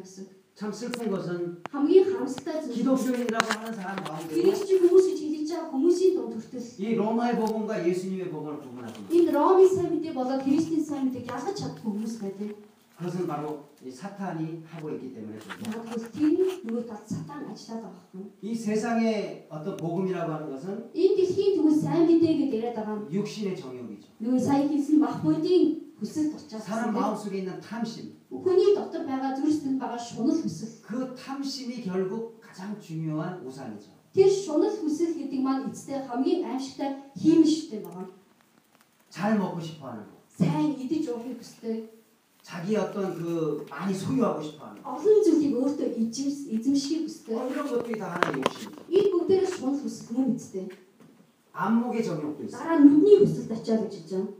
것은 참 슬픈 것은 хамгийн харамсалтай зүйл. 기독교인이라고 하는 사람 가운데도 Грекчи хүмүүс гэж хэлж байгаа хүмүүсийн дунд хүртэл 이 로마의 복음과 예수님의 복음을 구분합니다. энэ Роми сайн мэдээ болоод Христийн сайн мэдээг ялгаж чаддаг хүмүүс байдаг. 그것은 바로 이 사탄이 하고 있기 때문에 그렇습니다. Магадгүй тэр нь нөгөө талд сатан ажиллаад байгаа юм. 이 세상의 어떤 복음이라고 하는 것은 Энэ дэлхийн түгэн сайн мэдээ гэдээ яриад байгаа нь 육신의 정욕이죠. нөгөө сайн хэлсэн мах бодийн хүсэл тулчаас 사람 마음속에 있는 탐심. хүний дотор байгаа зүрстэнд байгаа шунал хүсэл. 그 탐심이 결국 가장 중요한 우상이죠. Тэр шунал хүсэл гэдэг маань эцтэй хамгийн аимшигтай хиймштэй байгаа. 잘 먹고 싶어하는 거. Сайн идэж уухыг хүсдэг. 자기 어떤 그 많이 소유하고 싶어하는 거. Олон зүйлийг өөртөө эзэмс эзэмшихийг 어, хүсдэг. 이런 것들이 다 하나의 욕심이죠. Энэ бүгдээрээ шунал хүсэл мөн эцтэй. 안목의 정욕도 있어요. Дараа нүдний хүсэлд очиад гэж хэлж байна.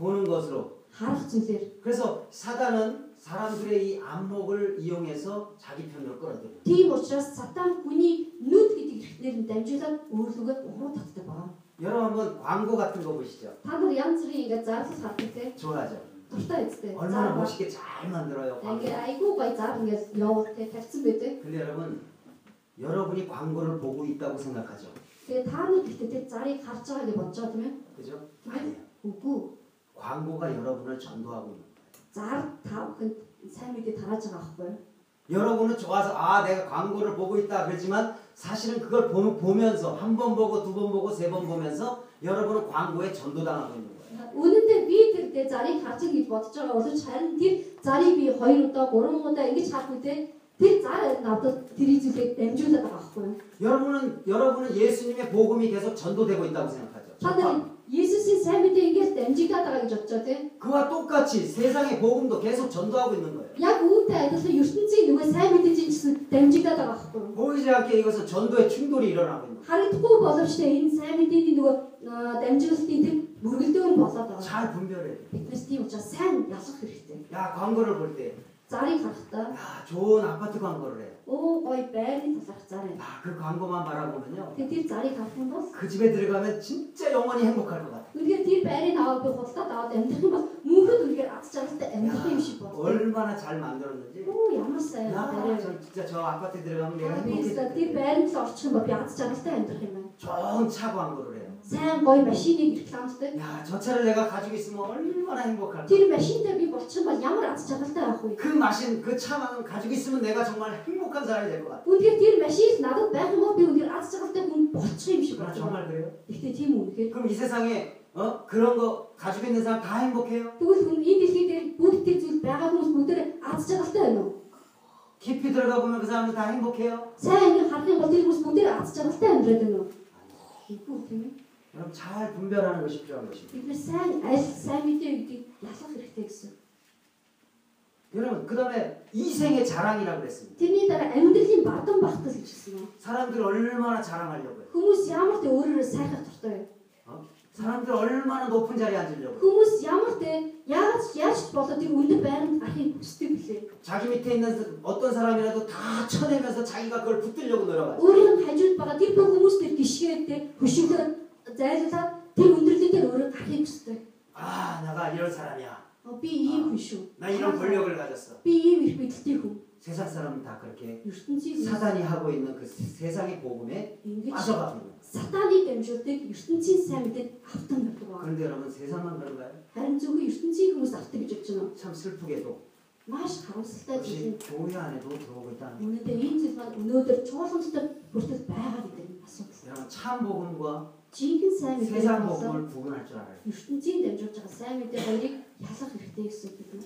보는 것으로. Харах зүйлээр. 그래서 사단은 사람들의 이 안목을 이용해서 자기 편으로 끌어들여요. Тийм учраас сатан хүний нүд гэдэг эрхтнэр нь дамжуулаад өөрлөгөө уруу татдаг байна. 여러분 한번 광고 같은 거 보시죠. Та нар янз бүрийн ингээд зарлал хатдаг те. 좋아하죠. Дуртай үстэй. 얼마나 Зар. 멋있게 잘 만들어요. 광고. Ингээ айгүй гой зар ингээд явуул те. Тавцсан байдаг. 근데 여러분 여러분이 광고를 보고 있다고 생각하죠. Тэгээ та нар гэхдээ те зарыг харж байгаа гэж бодож байгаа тийм ээ. 그죠? 네. 아니에요. Үгүй. 광고가 여러분을 전도하고 있는 거예요. Зар та бүхэнд сайн мэдээ тарааж байгаа байхгүй юу? 여러분은 좋아서 아 내가 광고를 보고 있다 그러지만 사실은 그걸 보, 보면서 한 번 보고 두 번 보고 세 번 보면서 여러분은 광고에 전도당하고 있는 거예요. Үнэндээ би тэр дэ зарыг харж гэж бодож байгаа боловч харин тэр зарыг би 2 удаа 3 удаа ингэж хардаг те. Тэр зар надад тэр зүйлээ дамжуулаад байгаа байхгүй юу? 여러분은 여러분은 예수님의 복음이 계속 전도되고 있다고 생각하죠. Та нар Есүсийн сайн мэдээ ингээс дамжигдаад байгаа гэж бодож байгаа тийм. 그와 똑같이 세상의 복음도 계속 전도하고 있는 거예요. Яг үүнтэй адилхан ертөнцийн нөгөө сайн мэдээжин гэсэн дамжигдаад байгаа байхгүй юу? 보이지 않게 이것은 전도의 충돌이 일어나고 있는 Харагдахгүй боловч тэ энэ сайн мэдээний нөгөө аа, дамжуулалтын тэр бүргэлдэхүүн болоод 거예요. байгаа. 잘 분별해요. Биднээс тийм учраас сайн ялах хэрэгтэй. 야 광고를 볼 때, Зарыг харахтаа 야 좋은 아파트 광고를 해요. оо гоё байрны талах зар юм. 야, 그 광고만 바라보면요. Тэгээ тэр зарыг харах нь бол 그 집에 들어가면 진짜 영원히 행복할 것 같아. үнэхээр тэр байрыг аваад би худалдаад аваад амьдрах юм бол мөнхөд үнэхээр аз жаргалтай 야, амьдрах юм шиг болно. 얼마나 잘 만들었는지. Оо ямар сайн 야, байраа. 저 진짜 저 아파트 들어가면 내가 Би зөв тэр 행복해. байранд л орчих юм бол би аз жаргалтай амьдрах юм байна. 좋은 차 광고를 해요. сайн гоё машиныг рекламддаг. 야, 저 차를 내가 가지고 있으면 얼마나 행복할까. Тэр машинтай би болчих юм бол ямар аз жаргалтай байх вэ? 그 마신, 그 차만 가지고 있으면 내가 정말 행복한 사람이 될 것 같아. Үнэхээр тэр машин надад байх юм бол би үнэхээр аз жаргалтай хүн болчих юм шиг 그럼 байна. 정말 그래요? Гэхдээ тийм үнэхээр 그럼 이 세상에 어 그런 거 가지고 있는 사람 다 행복해요? тэгвэл хүн энэ дэлхийд дээр бүгд тэр зүйл байгаа хүмүүс бүгдээр аз жаргалтай байна уу? 깊이 들어가 보면 그 사람들 다 행복해요? Сайн ингэ харах юм бол тэр хүмүүс бүгдээр аз жаргалтай амьдраад байна уу? Үгүй тийм ээ. 그럼 잘 분별하는 것이 필요한 것입니다. Бид нар сайн аль сайн мэдээ гэдгийг ялах хэрэгтэй гэсэн. 여러분 그다음에 이생의 자랑이라고 그랬습니다. Тэрний дараа амьдралын бадан багтал гэж хэлсэн юм. 사람들 얼마나 자랑하려고요? Хүмүүс ямар ч өөрөөрөө сайхах дуртай вэ? 어? 사람들 얼마나 높은 자리에 앉으려고요? Хүмүүс ямар те яаж яаж ч болоод тэр өндөр байранд гарахыг хүсдэг билээ. 자기 밑에 있는 사- 어떤 사람이라도 다 쳐내면서 자기가 그걸 붙들려고 노력하죠. Өөрийнх нь хажууд байгаа тэр бүх хүмүүс тэр гიშгээд те хөшөглөөд зайлуулаад тэр өндөрлөлтөд тэр өөрөө гарахыг хүсдэг. 아 내가 이런 사람이야. Оо, Би ийм хүн шүү. 나 이런 권력을 가졌어. Би ийм их мэдлэлтэй хүн. 세상 사람은 다 그렇게 ертөнцийн хүн. 사단이 하고 있는 그 세- 세상의 복음에 ингэж 빠져가거든요. сатаныг дамжуулдаг ертөнцийн сайн мэдээд автан гэдэг байна. 그런데 여러분 세상만 그런가요? Харин зөвхөн ертөнцийн хүмүүс автдаг гэж бодож байна. 참 슬프게도 Маш харамсалтай зүйл. 역시 교회 안에도 들어오고 있다는 거예요. Үүнтэй энэ зүйл маань өнөөдөр чуулгамжтай бүртэл байгаа гэдэг нь асуудал. 여러분 참 복음과 Жинхэнэ сайн мэдээ 세상 болон 복음을 구분할 줄 알아요. ертөнцийн дамжуулж байгаа сайн мэдээ хоёрыг ялах хэрэгтэй гэсэн үг бид.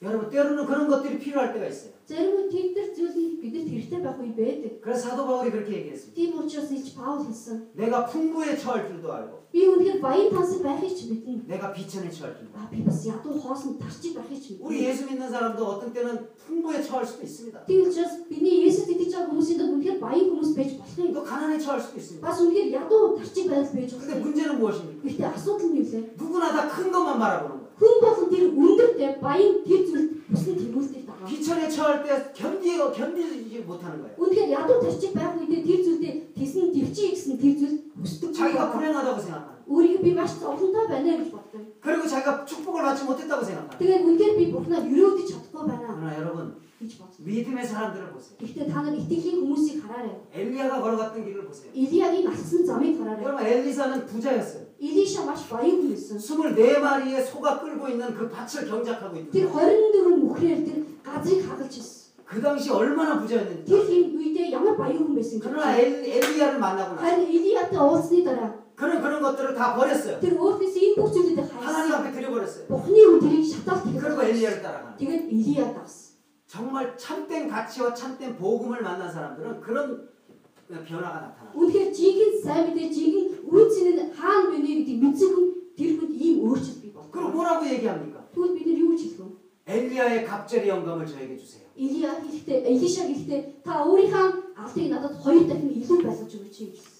여러분 때로는 그런 것들이 필요할 때가 있어요. Зарим нь тэгдэр зүйл нь бидэнд хэрэгтэй байх үе байдаг. 그래서 사도 바울이 그렇게 얘기했습니다. Тийм учраас Илч Паул хэлсэн. 내가 풍부에 처할 줄도 알고, Би үнэхээр баян тансаг байхыг ч мэднэ. 내가 비천에 처할 줄도. 알고. А би бас ядуу хоосонд тарчиг байхыг ч 우리 мэднэ. 예수 믿는 사람도 어떤 때는 풍부에 처할 수도 있습니다. Тийм учраас биний Есүс итгэж байгаа хүмүүсийн дунд үнэхээр баян хүмүүс байж болох юм. 또 가난에 처할 수도 있습니다. Бас үнэхээр ядуу тарчиг байдал байж болох 근데 юм. 문제는 무엇입니까? Гэхдээ асуудал нь юу вэ? 누구나 다 큰 것만 바라보는 거예요. Хүн болон тэр өндөртэй баян тэр зүйлд бүсэн тэмүүлдэг байгаа. 비천에 처할 때 견디고 견디지 못하는 거예요. Үнэхээр ядуу тарчиг байх үедээ тэр зүйлдээ тэсэн төвчий гэсэн тэр зүйл өсдөг. 자기가 불행하다고 생각하는. Өөрийгөө би маш зовлонтой байна гэж боддог. 그리고 자기가 축복을 받지 못했다고 생각하는. Тэгээд үнэхээр би бурхнаар өрөөдөж чадахгүй байна. 그러나 여러분 гэж бодсон. 믿음의 사람들을 보세요. Гэхдээ та нар итгэлийн хүмүүсийг хараарай. 엘리야가 걸어갔던 길을 보세요. Илиягийн алсан замыг хараарай. 여러분 엘리사는 부자였어요. Илиша маш баян хүн байсан. 24마리의 소가 끌고 있는 그 밭을 경작하고 있는 Тэр 거예요. 24 мөхрээр тэр газрыг хагалж ирсэн. 그 당시 얼마나 부자였는지 Тэр хин үедээ ямар баян хүн байсан гэж. 그러나 엘, 엘리야를 만나고 나서 Харин Илиятай уулзсны дараа 그런 그런 것들을 다 버렸어요. тэр өөртөөс энэ бүх зүйлүүдийг 하나님 хайсан. 앞에 드려버렸어요. Бухны үн тэрийг шатаалт 그리고 хийх. 엘리야를 따라가는 거예요. Тэгээд Илия давсан. 정말 참된 가치와 참된 복음을 만난 사람들은 그런 변화가 나타나요. Үнэхээр жинхэнэ сайн мэдээ жинхэнэ үйлсийн нь хаана байна вэ гэдэг мэдсэн хүн тэр хүнд ийм өөрчлөлт бий 그리고 болдог. 뭐라고 얘기합니까? Тэгвэл бид нар юу ч хэлгүй. 엘리야의 갑절이 영감을 저에게 주세요. Илия хэлэхдээ Элиша хэлэхдээ та өөрийнхөө алдыг надад хоёр дахин илүү байлгаж өгөөч гэсэн.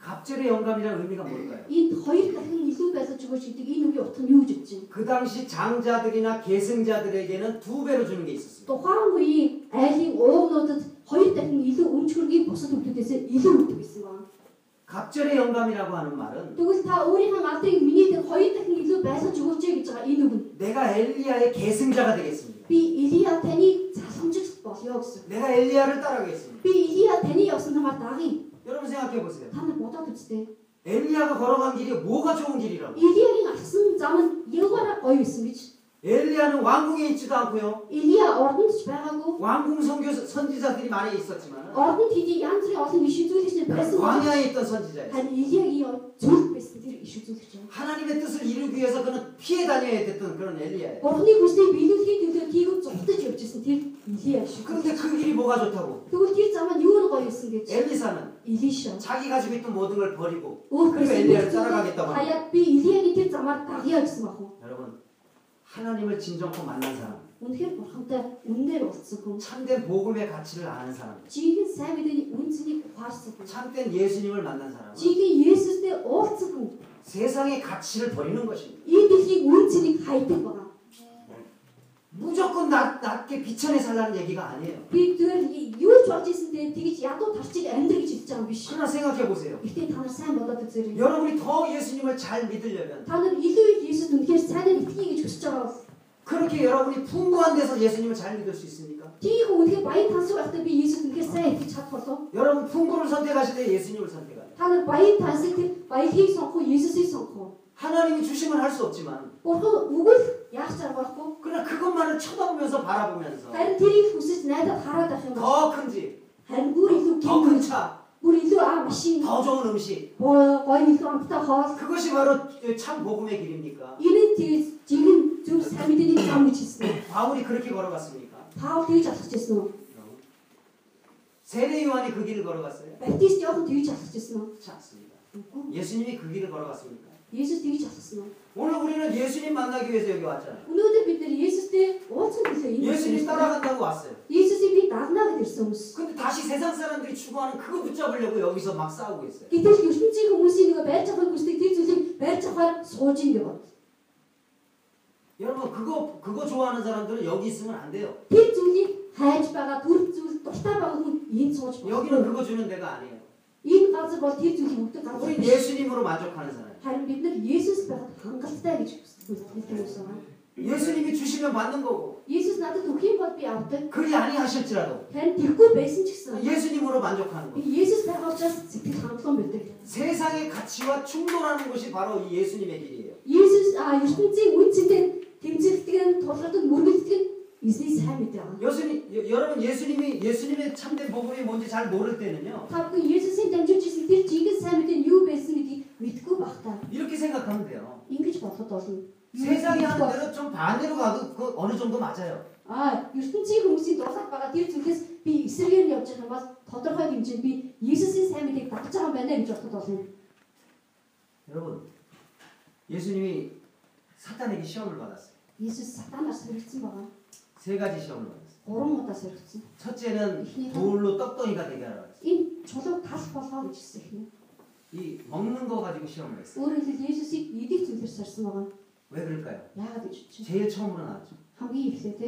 갑절의 영감이라는 의미가 뭘까요? Энд хоёр дахин илүү байлгаж өгөөч гэдэг энэ үгийн утга нь юу гэж бодож байна? 그 당시 장자들이나 계승자들에게는 두 배로 주는 게 있었습니다. Тухайн үеийн айлын уурнуудад хоёр дахин илүү өмч хөргийг бусад хүмүүсээс илүү өгдөг гэсэн байна. 갑절의 영감이라고 하는 말은 Тэгвэл та өөрийнхөө алдрыг миний дээр хоёр дахин илүү байлгаж өгөөч гэж байгаа энэ үг нь 내가 엘리야의 계승자가 되겠습니다. би Илия таны залхамжлагч болёо гэсэн. 내가 엘리야를 따라가겠습니다. Би Илия таны явсан замаар дагая. 여러분 생각해 보세요. Та нар бодоод үзтээ. 엘리야가 걸어간 길이 뭐가 좋은 길이라고? Илиягийн алсан зам нь Евгара гоё байсан гэж. 엘리야는 왕궁에 있지도 않고요. Илия ордонд ч байгаагүй. 왕궁 선교 선지자들이 많이 있었지만 Ордонд хийдий янз бүрийн олон иш үзүүлэгч байсан. гэж- 광야에 있던 선지자예요. Харин Илиягийн зүрх байсан тэр иш үзүүлэгч юм. 하나님의 뜻을 이루기 위해서 그는 피해 다녀야 됐던 그런 엘리야예요. Бурхны хүснийг биелүүлэхийн төлөө тийгүү зугтаж явж ирсэн тэр Илия шүү. 그런데 그 길이 뭐가 좋다고? Тэгвэл тэр зам нь юу нь гоё байсан гэж? 엘리사는 Илиша. 자기 가지고 있던 모든 걸 버리고 Өөр 그리고 хүн 엘리야를 따라가겠다고 합니다. хаяад би Илиягийн тэр замаар дагъя гэсэн баг. уу? 여러분 하나님을 진정코 만난 사람 Үнэхээр бурхантай үнээр уулзсан хүн. 참된 복음의 가치를 아는 사람 Жинхэнэ сайн мэдээний үнцнийг ухаарсан хүн. 참된 예수님을 만난 사람 Жинхэнэ Есүстэй уулзсан хүн. 세상의 가치를 버리는 것입니다 Энэ дэлхийн үнцнийг хайдаг байна. 무조건 낮, 낮게 비천에 살라는 얘기가 아니에요 Би зүгээр юу ч болж исэн те тэгж ядуу тарчиг амьдр гэж хэлж байгаа юм биш. 그러나 생각해 보세요 Гэтэ та нар сайн болоод үзээрэй. 여러분이 더 예수님을 잘 믿으려면 Та нар илүү их Есүс үнэхээр сайнаар итгэе гэж хүсэж байгаа бол 그렇게 여러분이 풍부한 데서 예수님을 잘 믿을 수 있습니까? тийм их үнэхээр баян тансуу байхдаа би Есүс үнэхээр сайн итгэж чадах болов. 여러분 풍부를 선택하실 때 예수님을 선택하요 Та нар баян тансаг тэр баялагийг сонгох уу Есүсийг сонгох уу? 하나님이 주시면 할 수 없지만 Бурхан өгвөл яах ч арга байхгүй. 그러나 그것만을 쳐다보면서 바라보면서 Харин тэрийг хүсэж найдаад хараад байх юм байна. 더 큰 집, Харин бүр илүү 더 гин, 큰 차, бүр илүү аа машин, 더 좋은 음식 гоо- гоё илүү амттай хоол. 그것이 바로 참 복음의 길입니까? Энэ тэр жигэн зүв сайн мэдээний зам гэж хэлсэн. 바울이 그렇게 걸어갔습니까? Паул тэгж алхаж ирсэн үү? 세례 요한이 그 길을 걸어갔어요? Баптист Иохан тэгж алхаж ирсэн үү? 그렇지 않습니다. Үгүй. 예수님이 그 길을 걸어갔습니까? Есүс тэгж алхсан үү? 오늘 우리는 예수님 만나기 위해서 여기 왔잖아요. Өнөөдөр бид нэр Есүстэй уулзах төлөө энэ 예수님 따라간다고 왔어요. Есүсийг би дагнаа гэж ирсэн хүмүүс. 근데 다시 세상 사람들이 추구하는 그거 붙잡으려고 여기서 막 싸우고 있어요. Гэтэл ертөнцийн хүмүүсийн нөгөө байрж авахыг хүсдэг тэр зүйлийг байрж авахаар сууж ин гэв. 여러분 그거 그거 좋아하는 사람들은 여기 있으면 안 돼요. Тэр зүйлийг хайж байгаа түр зүйл дуртай байгаа хүн энд сууж 여기는 болохгүй. 그거 주는 데가 아니에요. Энэ газар бол тэр зүйлийг өгдөг газар 우린 биш. 예수님으로 만족하는 사람. Харин бид нар Есүс байхад хангалттай гэж хэлсэн юм байна. 예수님이 주시면 받는 거고 Есүс надад өгөх юм бол би авдаг. 그게 아니하실지라도 Харин тэргүй байсан ч гэсэн 예수님으로 만족하는 би 거. Есүс байх учраас сэтгэл хандлага байдаг. 세상의 가치와 충돌하는 것이 바로 이 예수님의 길이에요. Есүс а, ертөнцийн үнцэндээ тэмцэлтгэн, тулгадаг, мөргөлтгэн эзний сайн мэдээ байгаа. 예수님 여- 여러분 예수님이 예수님의 참된 복음이 뭔지 잘 모를 때는요 Та бүхэн Есүсийн дамжуулж ирсэн тэр жинхэнэ сайн мэдээ нь юу байсан гэдгийг мэдгүй байх та. 이렇게 생각하면 돼요. Ингэж болоход болно. 세상이 음, 하는 대로 좀 반대로 가도 그 어느 정도 맞아요. А ертөнцийн хүмүүсийн дурсах байгаа тэр зүйлээс би эсрэгээр явж байгаа юм бол тодорхой хэмжээнд би Есүсийн сайн мэдээг багж байгаа юм байна гэж болоход болно. 여러분 예수님이 사탄에게 시험을 받았어요. Есүс сатанаас сэргэгдсэн байгаа. 세 가지 시험을 받았어요. Гурван удаа сэргэгдсэн. 첫째는 돌로 떡덩이가 되게 하라고 했어요. Энэ чулуу тал болгоо гэж хэлсэн юм. 이 먹는 거 가지고 시험을 했어요. Өөрөөр хэлбэл Есүсийг эдих зүйлээр сарсан байгаа. 왜 그럴까요? Яагаад гэж бодчих вэ? 제일 처음으로 나왔죠. Хамгийн эхлээ те.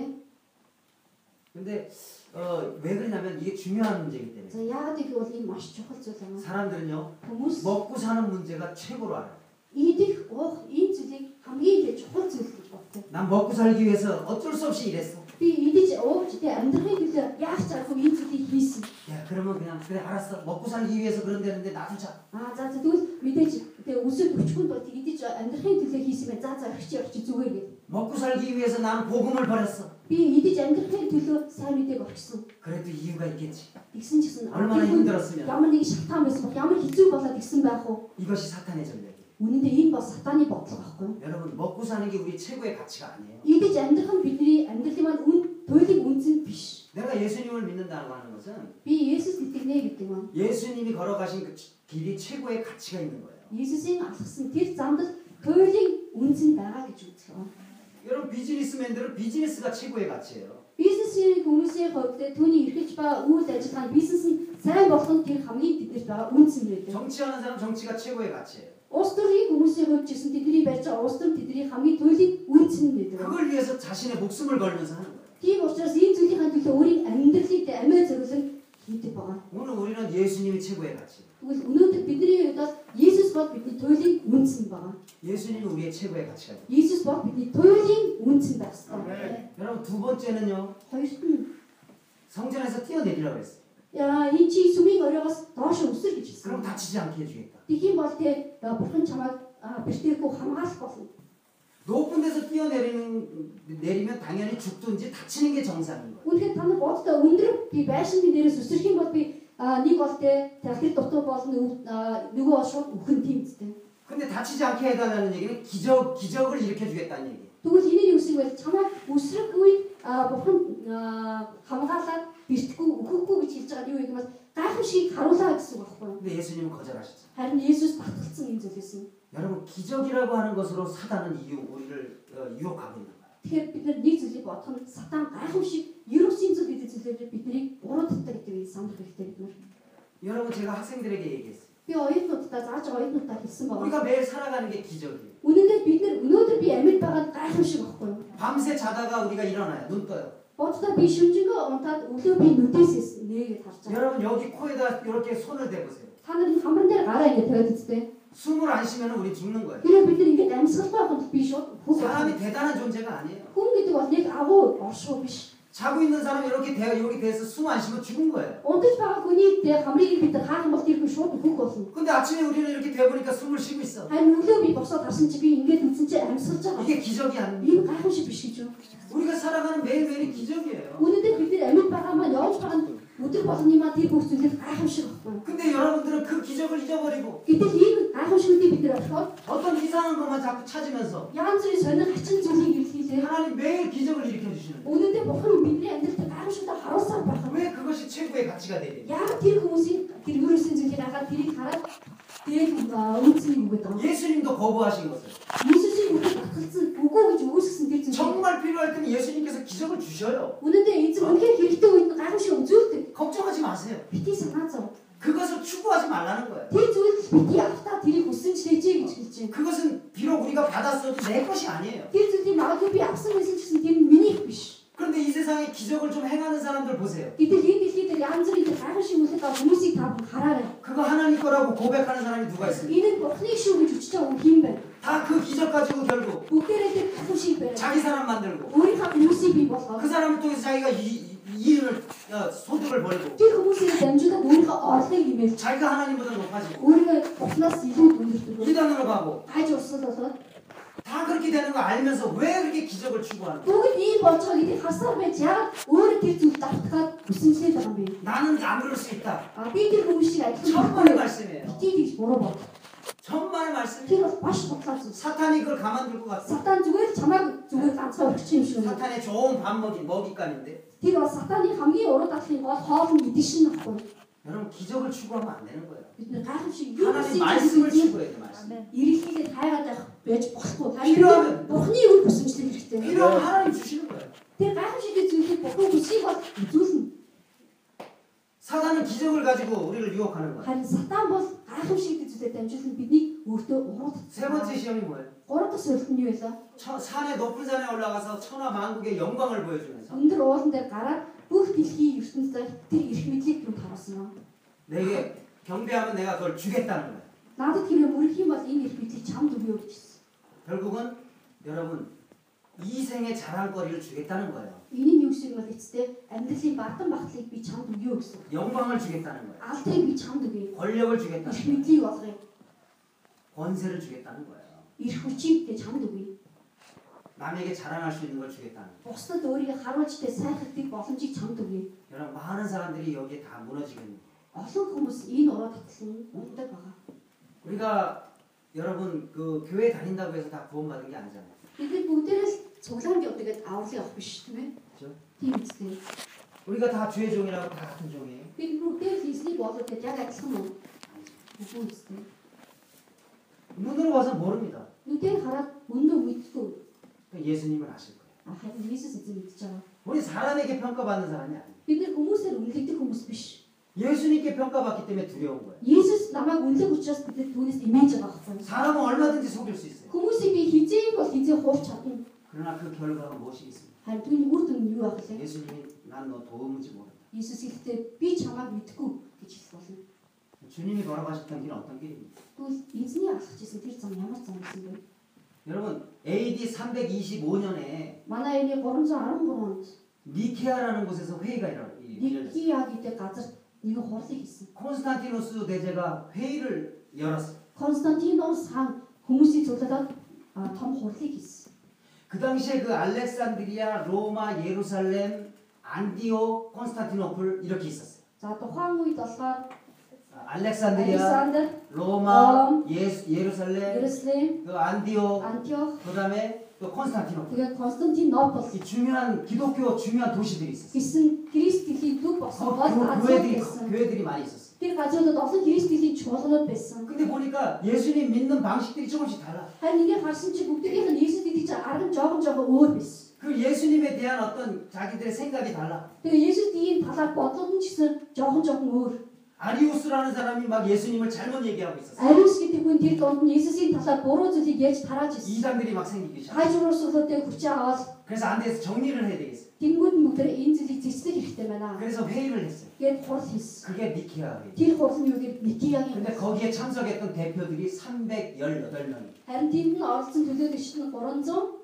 근데 어, 왜 그러냐면 이게 중요한 문제이기 때문에 За яагаад гэвэл бол энэ маш чухал зүйл байна. 사람들은요 Хүмүүс 먹고 사는 문제가 최고로 알아요. эдих уух энэ зүйлийг хамгийн их чухал зүйл гэж боддог. 난 먹고 살기 위해서 어쩔 수 없이 일했어. Би идэж ууж тэ амьдрахыг л яах чаагүй энэ зүйлийг хийсэн. 야 그러면 그냥 그래 알았어 먹고 살기 위해서 그런 데는데 나도 자 Аа за за тэгвэл мэдээж тэ өсөд өчгөнд бол тэг идэж амьдрахын төлөө хийсэн бай. За за орчих чи орчих зүгээр гээд. 먹고 살기 위해서 나는 복음을 버렸어 Би идэж амьдрахын төлөө сайн мэдээг орчихсон. 그래도 이유가 있겠지 Тэгсэн ч гэсэн 얼마나 힘들었으면 ямар нэг шалтгаан байсан бол ямар хэцүү болоод ирсэн байх вэ? 이것이 사탄의 전략 Үнэндээ энэ бол сатааны бодлого байхгүй юу? 여러분 먹고 사는 게 우리 최고의 가치가 아니에요 Идэж амьдрах нь бидний амьдралын маань үн туйлын үнц нь биш. 내가 예수님을 믿는다고 하는 것은 Би Есүс итгэнэ гэдэг юм. 예수님이 걸어가신 그 치- 길이 최고의 가치가 있는 거예요 Есүсийн алхсан тэр замд туйлын үнц нь байгаа гэж үздэг юм. 여러분 비즈니스맨들은 비즈니스가 최고의 가치예요 Бизнесийн хүмүүсийн хувьд те түүний эрхэлж ба үйл ажиллагаа нь бизнес нь сайн болох нь тэр хамгийн тэднэрт байгаа үнц юм байдаг. 정치하는 사람 정치가 최고의 가치예요 Улс төрийн хүмүүсийн хувьд ч гэсэн тэдний барьж байгаа улс төр тэдний хамгийн туйлын үнц нь байдаг. 그걸 위해서 자신의 목숨을 걸면서 하는 거예요 Тийм учраас энэ зүйлийнхаа төлөө өөрийн амьдралыг те амиа зориулсан хийдэг байгаа. 오늘 우리는 예수님이 최고의 가치 Тэгвэл өнөөдөр бидний хувьд бол Есүс бол бидний туйлын үнц нь байгаа. 예수님이 우리의 최고의 가치가 돼요 Иесус бол бидний туйлын үнц нь байх ёстой. Амен. 여러분 두 번째는요 Хоёрт нь 성전에서 뛰어내리라고 했어요 яа энэ чи сүмийн оройгоос доош өсөр гэж хэлсэн. 그럼 다치지 않게 해주겠다 Тэгхийн бол те яа, бурхан чамайг аа, бэртээхгүй хамгаалах болно. 높은 데서 뛰어내리는 내리면 당연히 죽든지 다치는 게 정상인 거예요. Үнэхээр та нар боддоо өндөр би байшингийн дээрээс өсөрх юм бол би аа, нэг бол те талхир дутуу болно өв- аа, нөгөө бол шууд үхэн тийм үстэй. 근데 다치지 않게 해달라는 얘기는 기적 기적을 일으켜 주겠다는 얘기. 예요 Тэгвэл энэний үсэг бол чамайг өсрөх үед аа, бурхан аа, хамгаалаад бэртгүү өгөхгүй гэж хэлж байгаа нь юу юм бол гайхамшиг харуулаа гэсэн үг байхгүй юу? 근데 예수님은 거절하셨죠. Харин Иесус батгалсан энэ зүйлээс нь 여러분 기적이라고 하는 것으로 사단은 이유 우리를 어, 유혹하고 있는 거예요. Тэгэхээр бид нар нэг зүйлийг бодох нь сатан гайхамшиг ерөөсийн зүйл гэдэг зүйлээр биднийг урууддаг гэдэг нь самх хэрэгтэй бид нар. 여러분 제가 학생들에게 얘기했어요. Би оюутнуудтай зааж байгаа оюутнуудтай хэлсэн байгаа. 우리가 매일 살아가는 게 기적이에요. Үнэндээ бид нар өнөөдөр би амьд байгаа нь гайхамшиг байхгүй юу? 밤새 자다가 우리가 일어나요. 눈 떠요. Боддоо би шүмжэнгөө унтаад өглөө би нүдээс нээгээд харж байгаа. 여러분 여기 코에다 이렇게 손을 대보세요. Та нар энэ хамран дээр гараа ингэ тавиад үзтээ. 숨을 안 쉬면 우리 죽는 거예요. Хэрэв бид нар ингэ амьсгалгүй байх бол би шууд хөх 뭐 사람이 болно. 대단한 존재가 아니에요. хүн гэдэг бол нэг агуу оршуу биш. 자고 있는 사람 이렇게 대 여기 대서 숨 안 쉬면 죽은 거예요. Унтаж байгаа хүний дэ хамрыг бид нар хаах юм бол тэр хүн шууд хөх болно. 근데 아침에 우리는 이렇게 대보니까 숨을 쉬고 있어. Харин өглөө би босоод гарсан чи би ингэж үзсэн чи амьсгалж байгаа. 이게 기적이 아닙니다. ийм гайхамшиг биш гэж юу? 우리가 살아가는 매일매일이 기적이에요. Үнэндээ бид нар амьд байгаа маань явж байгаа нь өдөр болгоны маань тэр бүх зүйлээс гайхамшиг байхгүй. 근데 여러분들은 그 기적을 잊어버리고 Гэтэл ийм гайхамшигүүдийг бид нар олоход 어떤 이상한 것만 자꾸 찾으면서 янз бүрийн сонир хачин зүйлийг илэрхийлээ. 하나님 매일 기적을 일으켜 주시는 Үнэндээ бухан бидний амьдралд гайхамшигтай харуулсан байх. 거예요. 왜 그것이 최고의 가치가 되니? Яг тэр хүмүүсийн тэр өөрөөсөн зүйлийг хагаад тэрийг хараад дээр үнцэн үгээд байгаа. 예수님도 거부하신 것을 Иесусийн үгээр батгалсан үгүй гэж өгөөсгсөн тэр зүйл. 정말 필요할 때는 예수님께서 기적을 주셔요. Үнэндээ эзэн үнхээр хэрэгтэй үед нь гайхамшиг үзүүлдэг. 걱정하지 마세요. Бити санаа зов. 그것을 추구하지 말라는 거예요. Тэр зүйл бити автаа тэрийг хүссэн ч лээжээ гэж хэлж байна. 그것은 비록 우리가 받았어도 내 것이 아니에요. Тэр зүйлийг магадгүй би авсан байсан ч гэсэн тэр нь минийх биш. 그런데 이 세상에 기적을 좀 행하는 사람들 보세요. Гэтэл энэ дэлхий дээр янз бүрийн тэр гайхамшиг үйлдэл ба хүмүүсийг та бүхэн хараарай. 그거 하나님 거라고 고백하는 사람이 누가 있습니까? Энэ нь бурхны шүү гэж өчж байгаа хүн юм байна. 다 그 기적 가지고 결국 Бүгдээрээ тэр гайхамшиг байна. 자기 사람 만들고 Өөрийнхөө хүмүүсийг бий болгоо. 그 사람을 통해서 자기가 이, 이- 이윤을 어, 소득을 벌고 Тэр хүмүүсийг дамжуулаад өөрийнхөө орлыг нэмэлт. 자기가 하나님보다 높아지고 Өөрийгөө бухнаас илүү өндөртгөө. 이단으로 가고 Хаж урсгал болоод 다 그렇게 되는 거 알면서 왜 그렇게 기적을 추구하는 거야? бүгд ийм болж байгаа гэдэг хасаар байж яагаад өөрөө тэр зүйл давтгаад хүсэмжлээд байгаа юм бэ? 나는 안 그럴 수 있다 А би тэр хүмүүс шиг ажиллах 천만의 байхгүй. 말씀이에요 Бити гэж буруу бод. 천만의 말씀이 Тэр бол маш хутлаа зүйл. 사탄이 그걸 가만둘 것 같아 Сатан зүгээр л чамайг зүгээр ганцхан өгч юм шиг байна. 사탄의 좋은 밥 먹이 먹잇감인데 Тэр бол сатаны хамгийн уруу датлын гол хоолн гэдэг шин ахгүй. 여러분 기적을 추구하면 안 되는 거예요 Бид нэр гайхамшиг юу 하나님 гэсэн 말씀을 зүйл 추구해야 돼 말씀 ирэлхийлээд хайгаад байх байж болохгүй. Хэрвээ- Харин Бурхны үр бүсэмжлэл хэрэгтэй. 필요하면 하나님 주시는 거예요 Тэр гайхамшигтэй зүйлийг Бурхан хүсийг бол үзүүлнэ. 사단은 기적을 가지고 우리를 유혹하는 거예요 Харин сатан бол гайхамшигтэй зүйлээр дамжуулан бидний өөртөө уруу 세 번째 시험이 뭐예요? Гурав дахь сорилт нь юу вэ? 천- 산에 높은 산에 올라가서 천하 만국의 영광을 보여주면서 Өндөр уулан дээр гараад бүх дэлхийн ертөнцид тэр их мэдлийг түнд харуулсан юм. 내게 경배하면 내가 그걸 주겠다는 거예요. Надад хэрвээ мөрөх юм бол энэ их мэдлийг чамд өгөө гэж хэлсэн. 결국은 여러분 이 생의 자랑거리를 주겠다는 거예요. Энийн юу гэсэн юм бол эцтэй амьдралын багтан багтлыг би чамд өгье гэсэн. 영광을 주겠다는 거예요. Алдыг би чамд өгье. 권력을 Эрх 주겠다는 거예요. мэдлийг олгоё. 권세를 주겠다는 거예요. Эрх хүчийг тэ чамд өгье. 남에게 자랑할 수 있는 걸 주겠다는 거예요. Бусдад өөрийгөө харуулж тэ сайхах тэг боломжийг чамд өгье. 여러분 많은 사람들이 여기에 다 무너지겠네요. Олон хүмүүс энэ ураа татлын ундаг байгаа. 우리가 여러분 그 교회 다닌다고 해서 다 구원받은 게 아니잖아요. Бид бүгдээрээ л цуглаанд явдаг гэдэг авралын явах биш тийм ээ. 그렇죠? Тийм үстэй. 우리가 다 주의 종이라고 다 같은 종이에요. Бид бүгдээр л эзний болоод гэдэг яг адилхан мөн. Үгүй үстэй. 눈으로 봐서 모릅니다. Нүдээр хараад мөндөө мэдтгүй. 그러니까 예수님을 아실 거예요. А харин Иесус эзэн мэдчихэж байгаа. 우리 사람에게 평가받는 사람이 아니에요. Бид нэр хүмүүсээр үнэлэгдэх хүмүүс биш. 예수님께 평가받기 때문에 두려운 거예요. Иесус намайг үнэлэх учраас бид түүнээс имэж байгаа хэрэг. 사람은 얼마든지 속일 수 있어요. Хүмүүсийг би хизээ бол хизээ хууч чадна. 그러나 그 결과가 무엇이 있습니까? Харин түүний үр дүн нь юу байх вэ? 예수님이 난 너 도움인지 모른다. Иесус хэлэхдээ би чамайг мэдгүй гэж хэлсэн болно. 주님이 걸어가셨던 길은 어떤 길입니까? Тэгвэл эзний алхаж исэн тэр зам ямар зам гэсэн бэ? 여러분 AD 325년에 Манай энэ 313 онд 니케아라는 곳에서 회의가 일어났어요. Никиа гэдэг газар нэг хурлыг хийсэн. 콘스탄티노스 대제가 회의를 열었어요. Константинос хаан хүмүүсийг зөвлөдөг том хурлыг хийсэн. 그 당시에 그 알렉산드리아, 로마, 예루살렘, 안디오, 콘스탄티노플 이렇게 있었어요. За тухайн үед болохоор 아, 알렉산드리아, Александр, 로마, 어. 예, 예루살렘, Иерусалим, 그 안디오, Антиох, 그다음에 또 콘스탄티노플. тэгээд Константинопол 이 중요한 기독교 중요한 도시들이 있었어요. гэсэн Крист дэлхийн дүг 어, болсон гол 교- газар 교회들이 байсан. 교회들이 많이 있었어요. Тэр газруудад олон Крист дэлхийн чуулганууд байсан. 근데 보니까 예수님 믿는 방식들이 조금씩 달라. Харин энийг харсан чи бүгдээрийнх нь Иесус гэдэг чинь арга нь жоохон жоохон өөр байсан. 그 예수님에 대한 어떤 자기들의 생각이 달라. Тэгээ Иесус ийм талаар бодлого нь ч гэсэн жоохон жоохон өөр. 아리우스라는 사람이 막 예수님을 잘못 얘기하고 있었어요. Ариус гэдэг хүн тэр донд нь Иесусийн талаар буруу зүйлийг ярьж 아, тарааж ирсэн. 이단들이 막 생기기 시작. Хайжруулсуудад хүч аваад 그래서 안 돼서 정리를 해야 되겠어요. тэнгууд нь бүгдээр энэ зүйлийг зэцлэх хэрэгтэй байна. 그래서 회의를 했어요. Гэт хурл хийсэн. 그게 니케아 회의. Тэр хурл нь юу гэвэл Никиягийн 근데 거기에 참석했던 대표들이 318명, харин тэнд нь оролцсон төлөөлөгч нь 317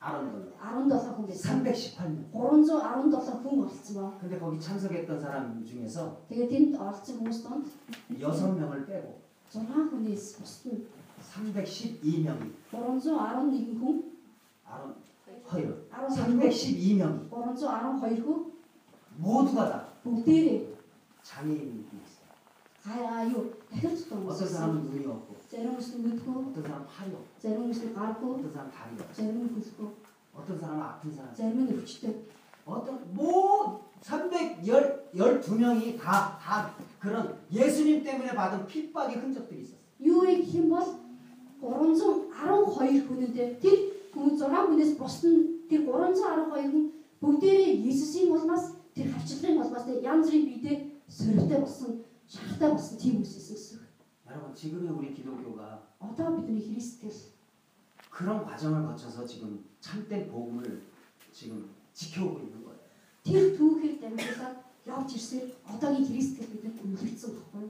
아론들, хүн байсан. 318명. 317 хүн оролцсон ба. 근데 거기 참석했던 사람 중에서 Тэгээ тэнд оролцсон хүмүүс донд 6명을 빼고 6 хүнээс бусад нь 312명이 311 хүн 아론 허율. 312 312명이 312 хүн 모두가 다 бүгдээрээ 장애인이 있어요. аа юу дахир тутам 어떤 사람은 눈이 없고, зарим хүмүүс нь нүдгүй 어떤 사람은 팔이 없고, зарим хүмүүс нь гаргүй 어떤 사람은 다리 없고, зарим нь хөлгүй 어떤 사람은 아픈 사람. зарим нь өвчтэй 어떤 뭐 312명이 다, 다 그런 예수님 때문에 받은 핍박의 흔적들이 있었어요. юу вэ гэх юм бол 312 хүнүүдээ тэр хүн 6 хүнээс бусад нь тэр 312 хүн бүгдээрээ Иесусийн улмаас тэр хавчлагын улмаас тэ янз бүрийн биедээ сөрөвтэй болсон шахалтай болсон тийм хүмүүс байсан гэсэн. үг. 여러분 지금의 우리 기독교가 Одоо бидний Христтэй 그런 과정을 거쳐서 지금 참된 복음을 지금 지켜오고 있는 거예요. тэр түүхээр дамжуулаад явж ирсээр одоогийн Христтэй бидэнд өнгөрцөн баггүй.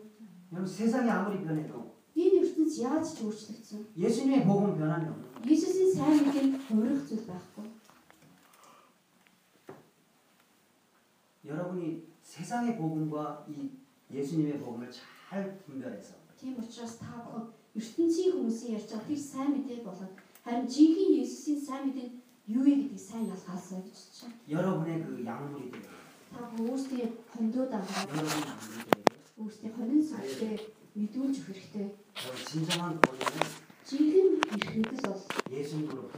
여러분 세상이 아무리 변해도 Энэ ертөнц яаж ч өөрчлөгдсөн. 예수님의 복음은 변함이 없는 거예요. Иесусийн сайн мэдээ хувирах зүйл байхгүй. 여러분이 세상의 복음과 이 예수님의 복음을 잘 분별해서 Тийм учраас та бүхэн ертөнцийн хүмүүсийн ярьж байгаа тэр сайн мэдээ болоод харин жинхэнэ Иесусийн сайн мэдээ юу вэ гэдгийг сайн ялгаалсаа гэж бодчих. 여러분의 그 양물이 되고 Та бүхэн өөрсдөө хондоо дагаад 여러분의 양물이 되고 өөрсдөө хонин сүлжээ мэдүүлж өгөх хэрэгтэй. 여러분 진정한 복음은 Жинхэнэ эрхнээс бол 예수님으로부터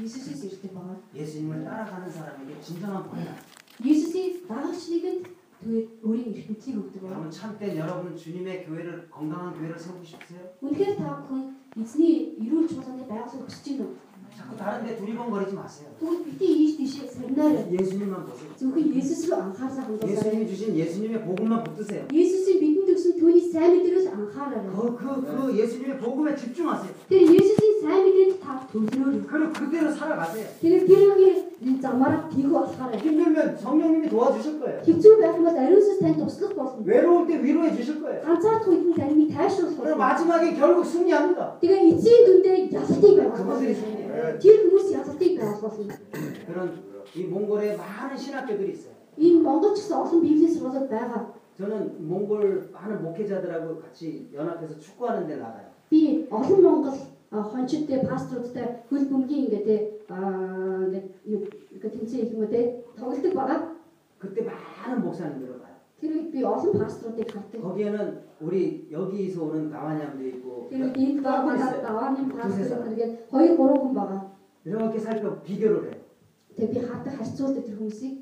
Иесусээс ирдэг байгаа. 예수님을 따라가는 사람에게 진정한 복음이다. Иесусийн дагагчлагд түүний өөрийн эрхнэлийг өгдөг байна. 여러분 참된 여러분 주님의 교회를 건강한 교회를 세우고 싶으세요? Үнэхээр та бүхэн эзний эрүүл чуулганы байгуулыг хүсэж байна уу? 자꾸 다른데 두리번거리지 마세요. Тэгвэл битээ ийш тийшээ сарнаар 예수님만 보세요. зөвхөн Есүс рүү анхаарлаа хандуулаарай. 예수님이 주신 예수님의 복음만 붙드세요. Есүсийн бидэнд өгсөн түүний сайн мэдрээс анхаараарай. 그, 그, 그 예수님의 복음에 집중하세요. Тэр Есүсийн сайн мэдээнд та төвлөрөөр. 그리고 그대로 살아가세요. Тэр тэр үеийн 이 замаараа 비교 болохоор 힘들면 성령님이 도와주실 거예요. хэцүү байх юм бол ариун сүнс танд туслах болно. 외로울 때 위로해 주실 거예요. Ганцаардах үед нь таныг тайшруулах 그럼 болно. 마지막에 결국 승리합니다. Тэгээ эцсийн дүндээ ялалтыг байгуулах 그분들이 болно. 승리해요. Тэр хүмүүс ялалтыг байгуулах болно. 그런 이 몽골에 많은 신학교들이 있어요. Энэ Монгол ч гэсэн олон библийн сургуулиуд байгаа. 저는 몽골 많은 목회자들하고 같이 연합해서 축구하는 데 나가요. Би олон Монгол а, хончидтэй пасторудтай хөл бөмбөгийн ингээд аа нэг юу ингээд тэмцээн хийх юм үү те тоглолдог байгаа. 그때 많은 목사님들을 봐요. Тэр үед би олон пасторуудыг 네. хатдаг. 거기에는 우리 여기서 오는 가와냠도 있고 그러니까 Тэр үед энд байгаа 있어요. давааны пастор Түнсээс. гэдэг 2 3 хүн байгаа. 이렇게 살펴 비교를 해요. Тэгээ би хатдаг харьцуулдаг тэр хүмүүсийг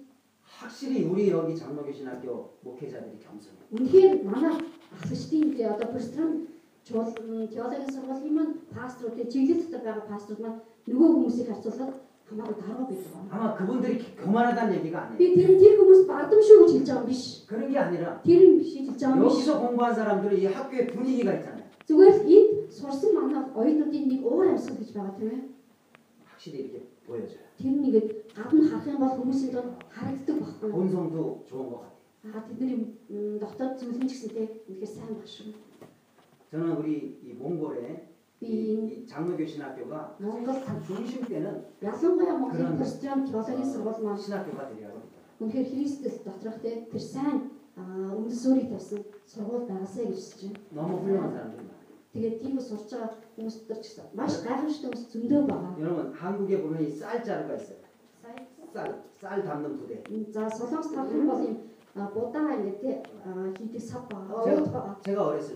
확실히 우리 여기 장로교신학교 목회자들이 겸손해요. Үнэхээр манай ахлагчдын тий одоо пристрам чуулган теологийн сургуулийн маань пасторууд тий чиглэл дотор байгаа пасторууд маань нөгөө хүмүүсийг харьцуулахад хамаагүй дарга бид байгаа. 아마 그분들이 교만하다는 얘기가 Би 아니에요. тэр нь тэр хүмүүс бардамшгүй гэж хэлж байгаа юм биш. 그런 게 아니라 Тэр нь биш хэлж байгаа юм биш. 여기서 공부한 사람들은 이 학교의 분위기가 있잖아요. Зүгээр л энд сурсан манай оюутнуудын нэг уур амьсгал гэж байгаа тийм ээ. 확실히 이렇게 보여줘요. Тэр нь ингээд гадна харах юм бол хүмүүсийн донд харагддаг 음. байхгүй. 본성도 좋은 것 같아요. Аа тэдний м, дотоод зүйлэн ч гэсэн тий үнэхээр сайн баг шүү. 저는 우리 이 몽골의 Би 이 장로교신학교가 Монгол 한 중심 때는 ялангуяа Монголын Грант. пристрам теологийн сургууль маань 신학교가 되려고 합니다. Үнэхээр Христэс доторх те тэр сайн аа, үндэс өөрийг тавьсан сургууль байгаасаа гэж хэлж байна. 너무 훌륭한 사람들이 많아요. Тэгээд тийм бас сурч байгаа хүмүүс дотор ч гэсэн маш гайхамшигтай хүмүүс зөндөө байгаа. 여러분 한국에 보면 이 쌀자루가 있어요. 쌀, 쌀 담는 부대. За солонгос тав хүн бол юм аа, будаа ингэ те аа, хийдэг сав байгаа. Зэ- Уут байгаа. 제가 어렸을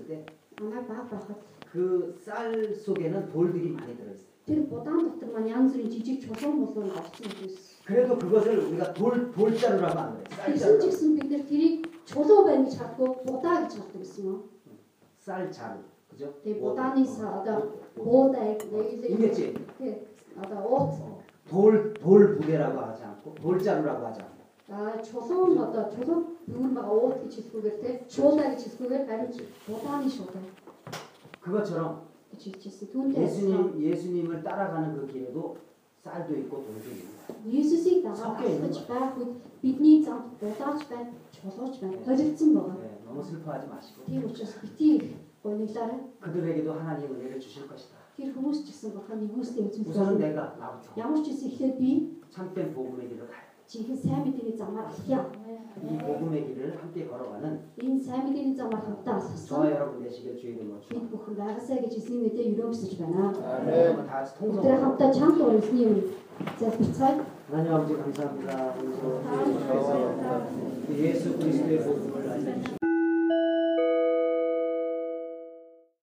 Манай баг байхад 때 그 쌀 속에는 돌들이 많이 들어있어요. тэр будаан дотор маань янз бүрийн жижиг чулуун болон орсон хүмүүс. 그래도 그것을 우리가 돌, 돌자루라고 안 Тэгсэн 그래요. ч 쌀자루. гэсэн бид нэр тэрийг чулуу байна гэж хардггүй будаа гэж харддаг гэсэн юм. 쌀자루. 그죠? 네, 뭐, 보다니 어, 사- 나- 뭐, 뭐. Буудаа ингэ 이겠지? те одоо уут 어, 돌, 돌 부대라고 하지 않고 돌자루라고 하지 않고. За чулуун одоо чулуун дүүр байгаа уут гэж хэлэхгүйгээр те чуулаа гэж хэлэхгүйгээр харин булааны шуулаа 그것처럼 гэж хэлчихсэн. Түүнтэй адилхан 예수님, 예수님을 따라가는 그 길에도 쌀도 있고 돌도 있는 거예요. Есүсийг Цавхи юм дагалж байх үед бидний замд булаач байна, чулууч байна, хоригдсан байгаа. 네, 너무 슬퍼하지 마시고 Тийм учраас битгий гониглаараа 그들에게도 하나님 은혜를 주실 것이다. тэр хүмүүс ч гэсэн бурханы хүмүүсийн 우선은 үзмсээр 내가 나부터 ямар ч үс ихлээр би 참된 복음의 길을 가요. жинхэнэ сайн мэдээний замаар алхъя. 이 복음의 길을 함께 걸어가는 Энэ сайн мэдээний замаар хамтдаа 저와 алхсан. 여러분 되시길 주의 이름으로 Бид 축원합니다. бүхэн байгаасаа гэж эзний мэдээ өрөөсөж байна. 아멘. 다 같이 Өдөр 통성으로 хамтдаа чамд өрөөсний юм залбирцгаая. 하나님 아버지 감사합니다. 오늘도 주의 은혜에서 예수 그리스도의 복음을 알려주시고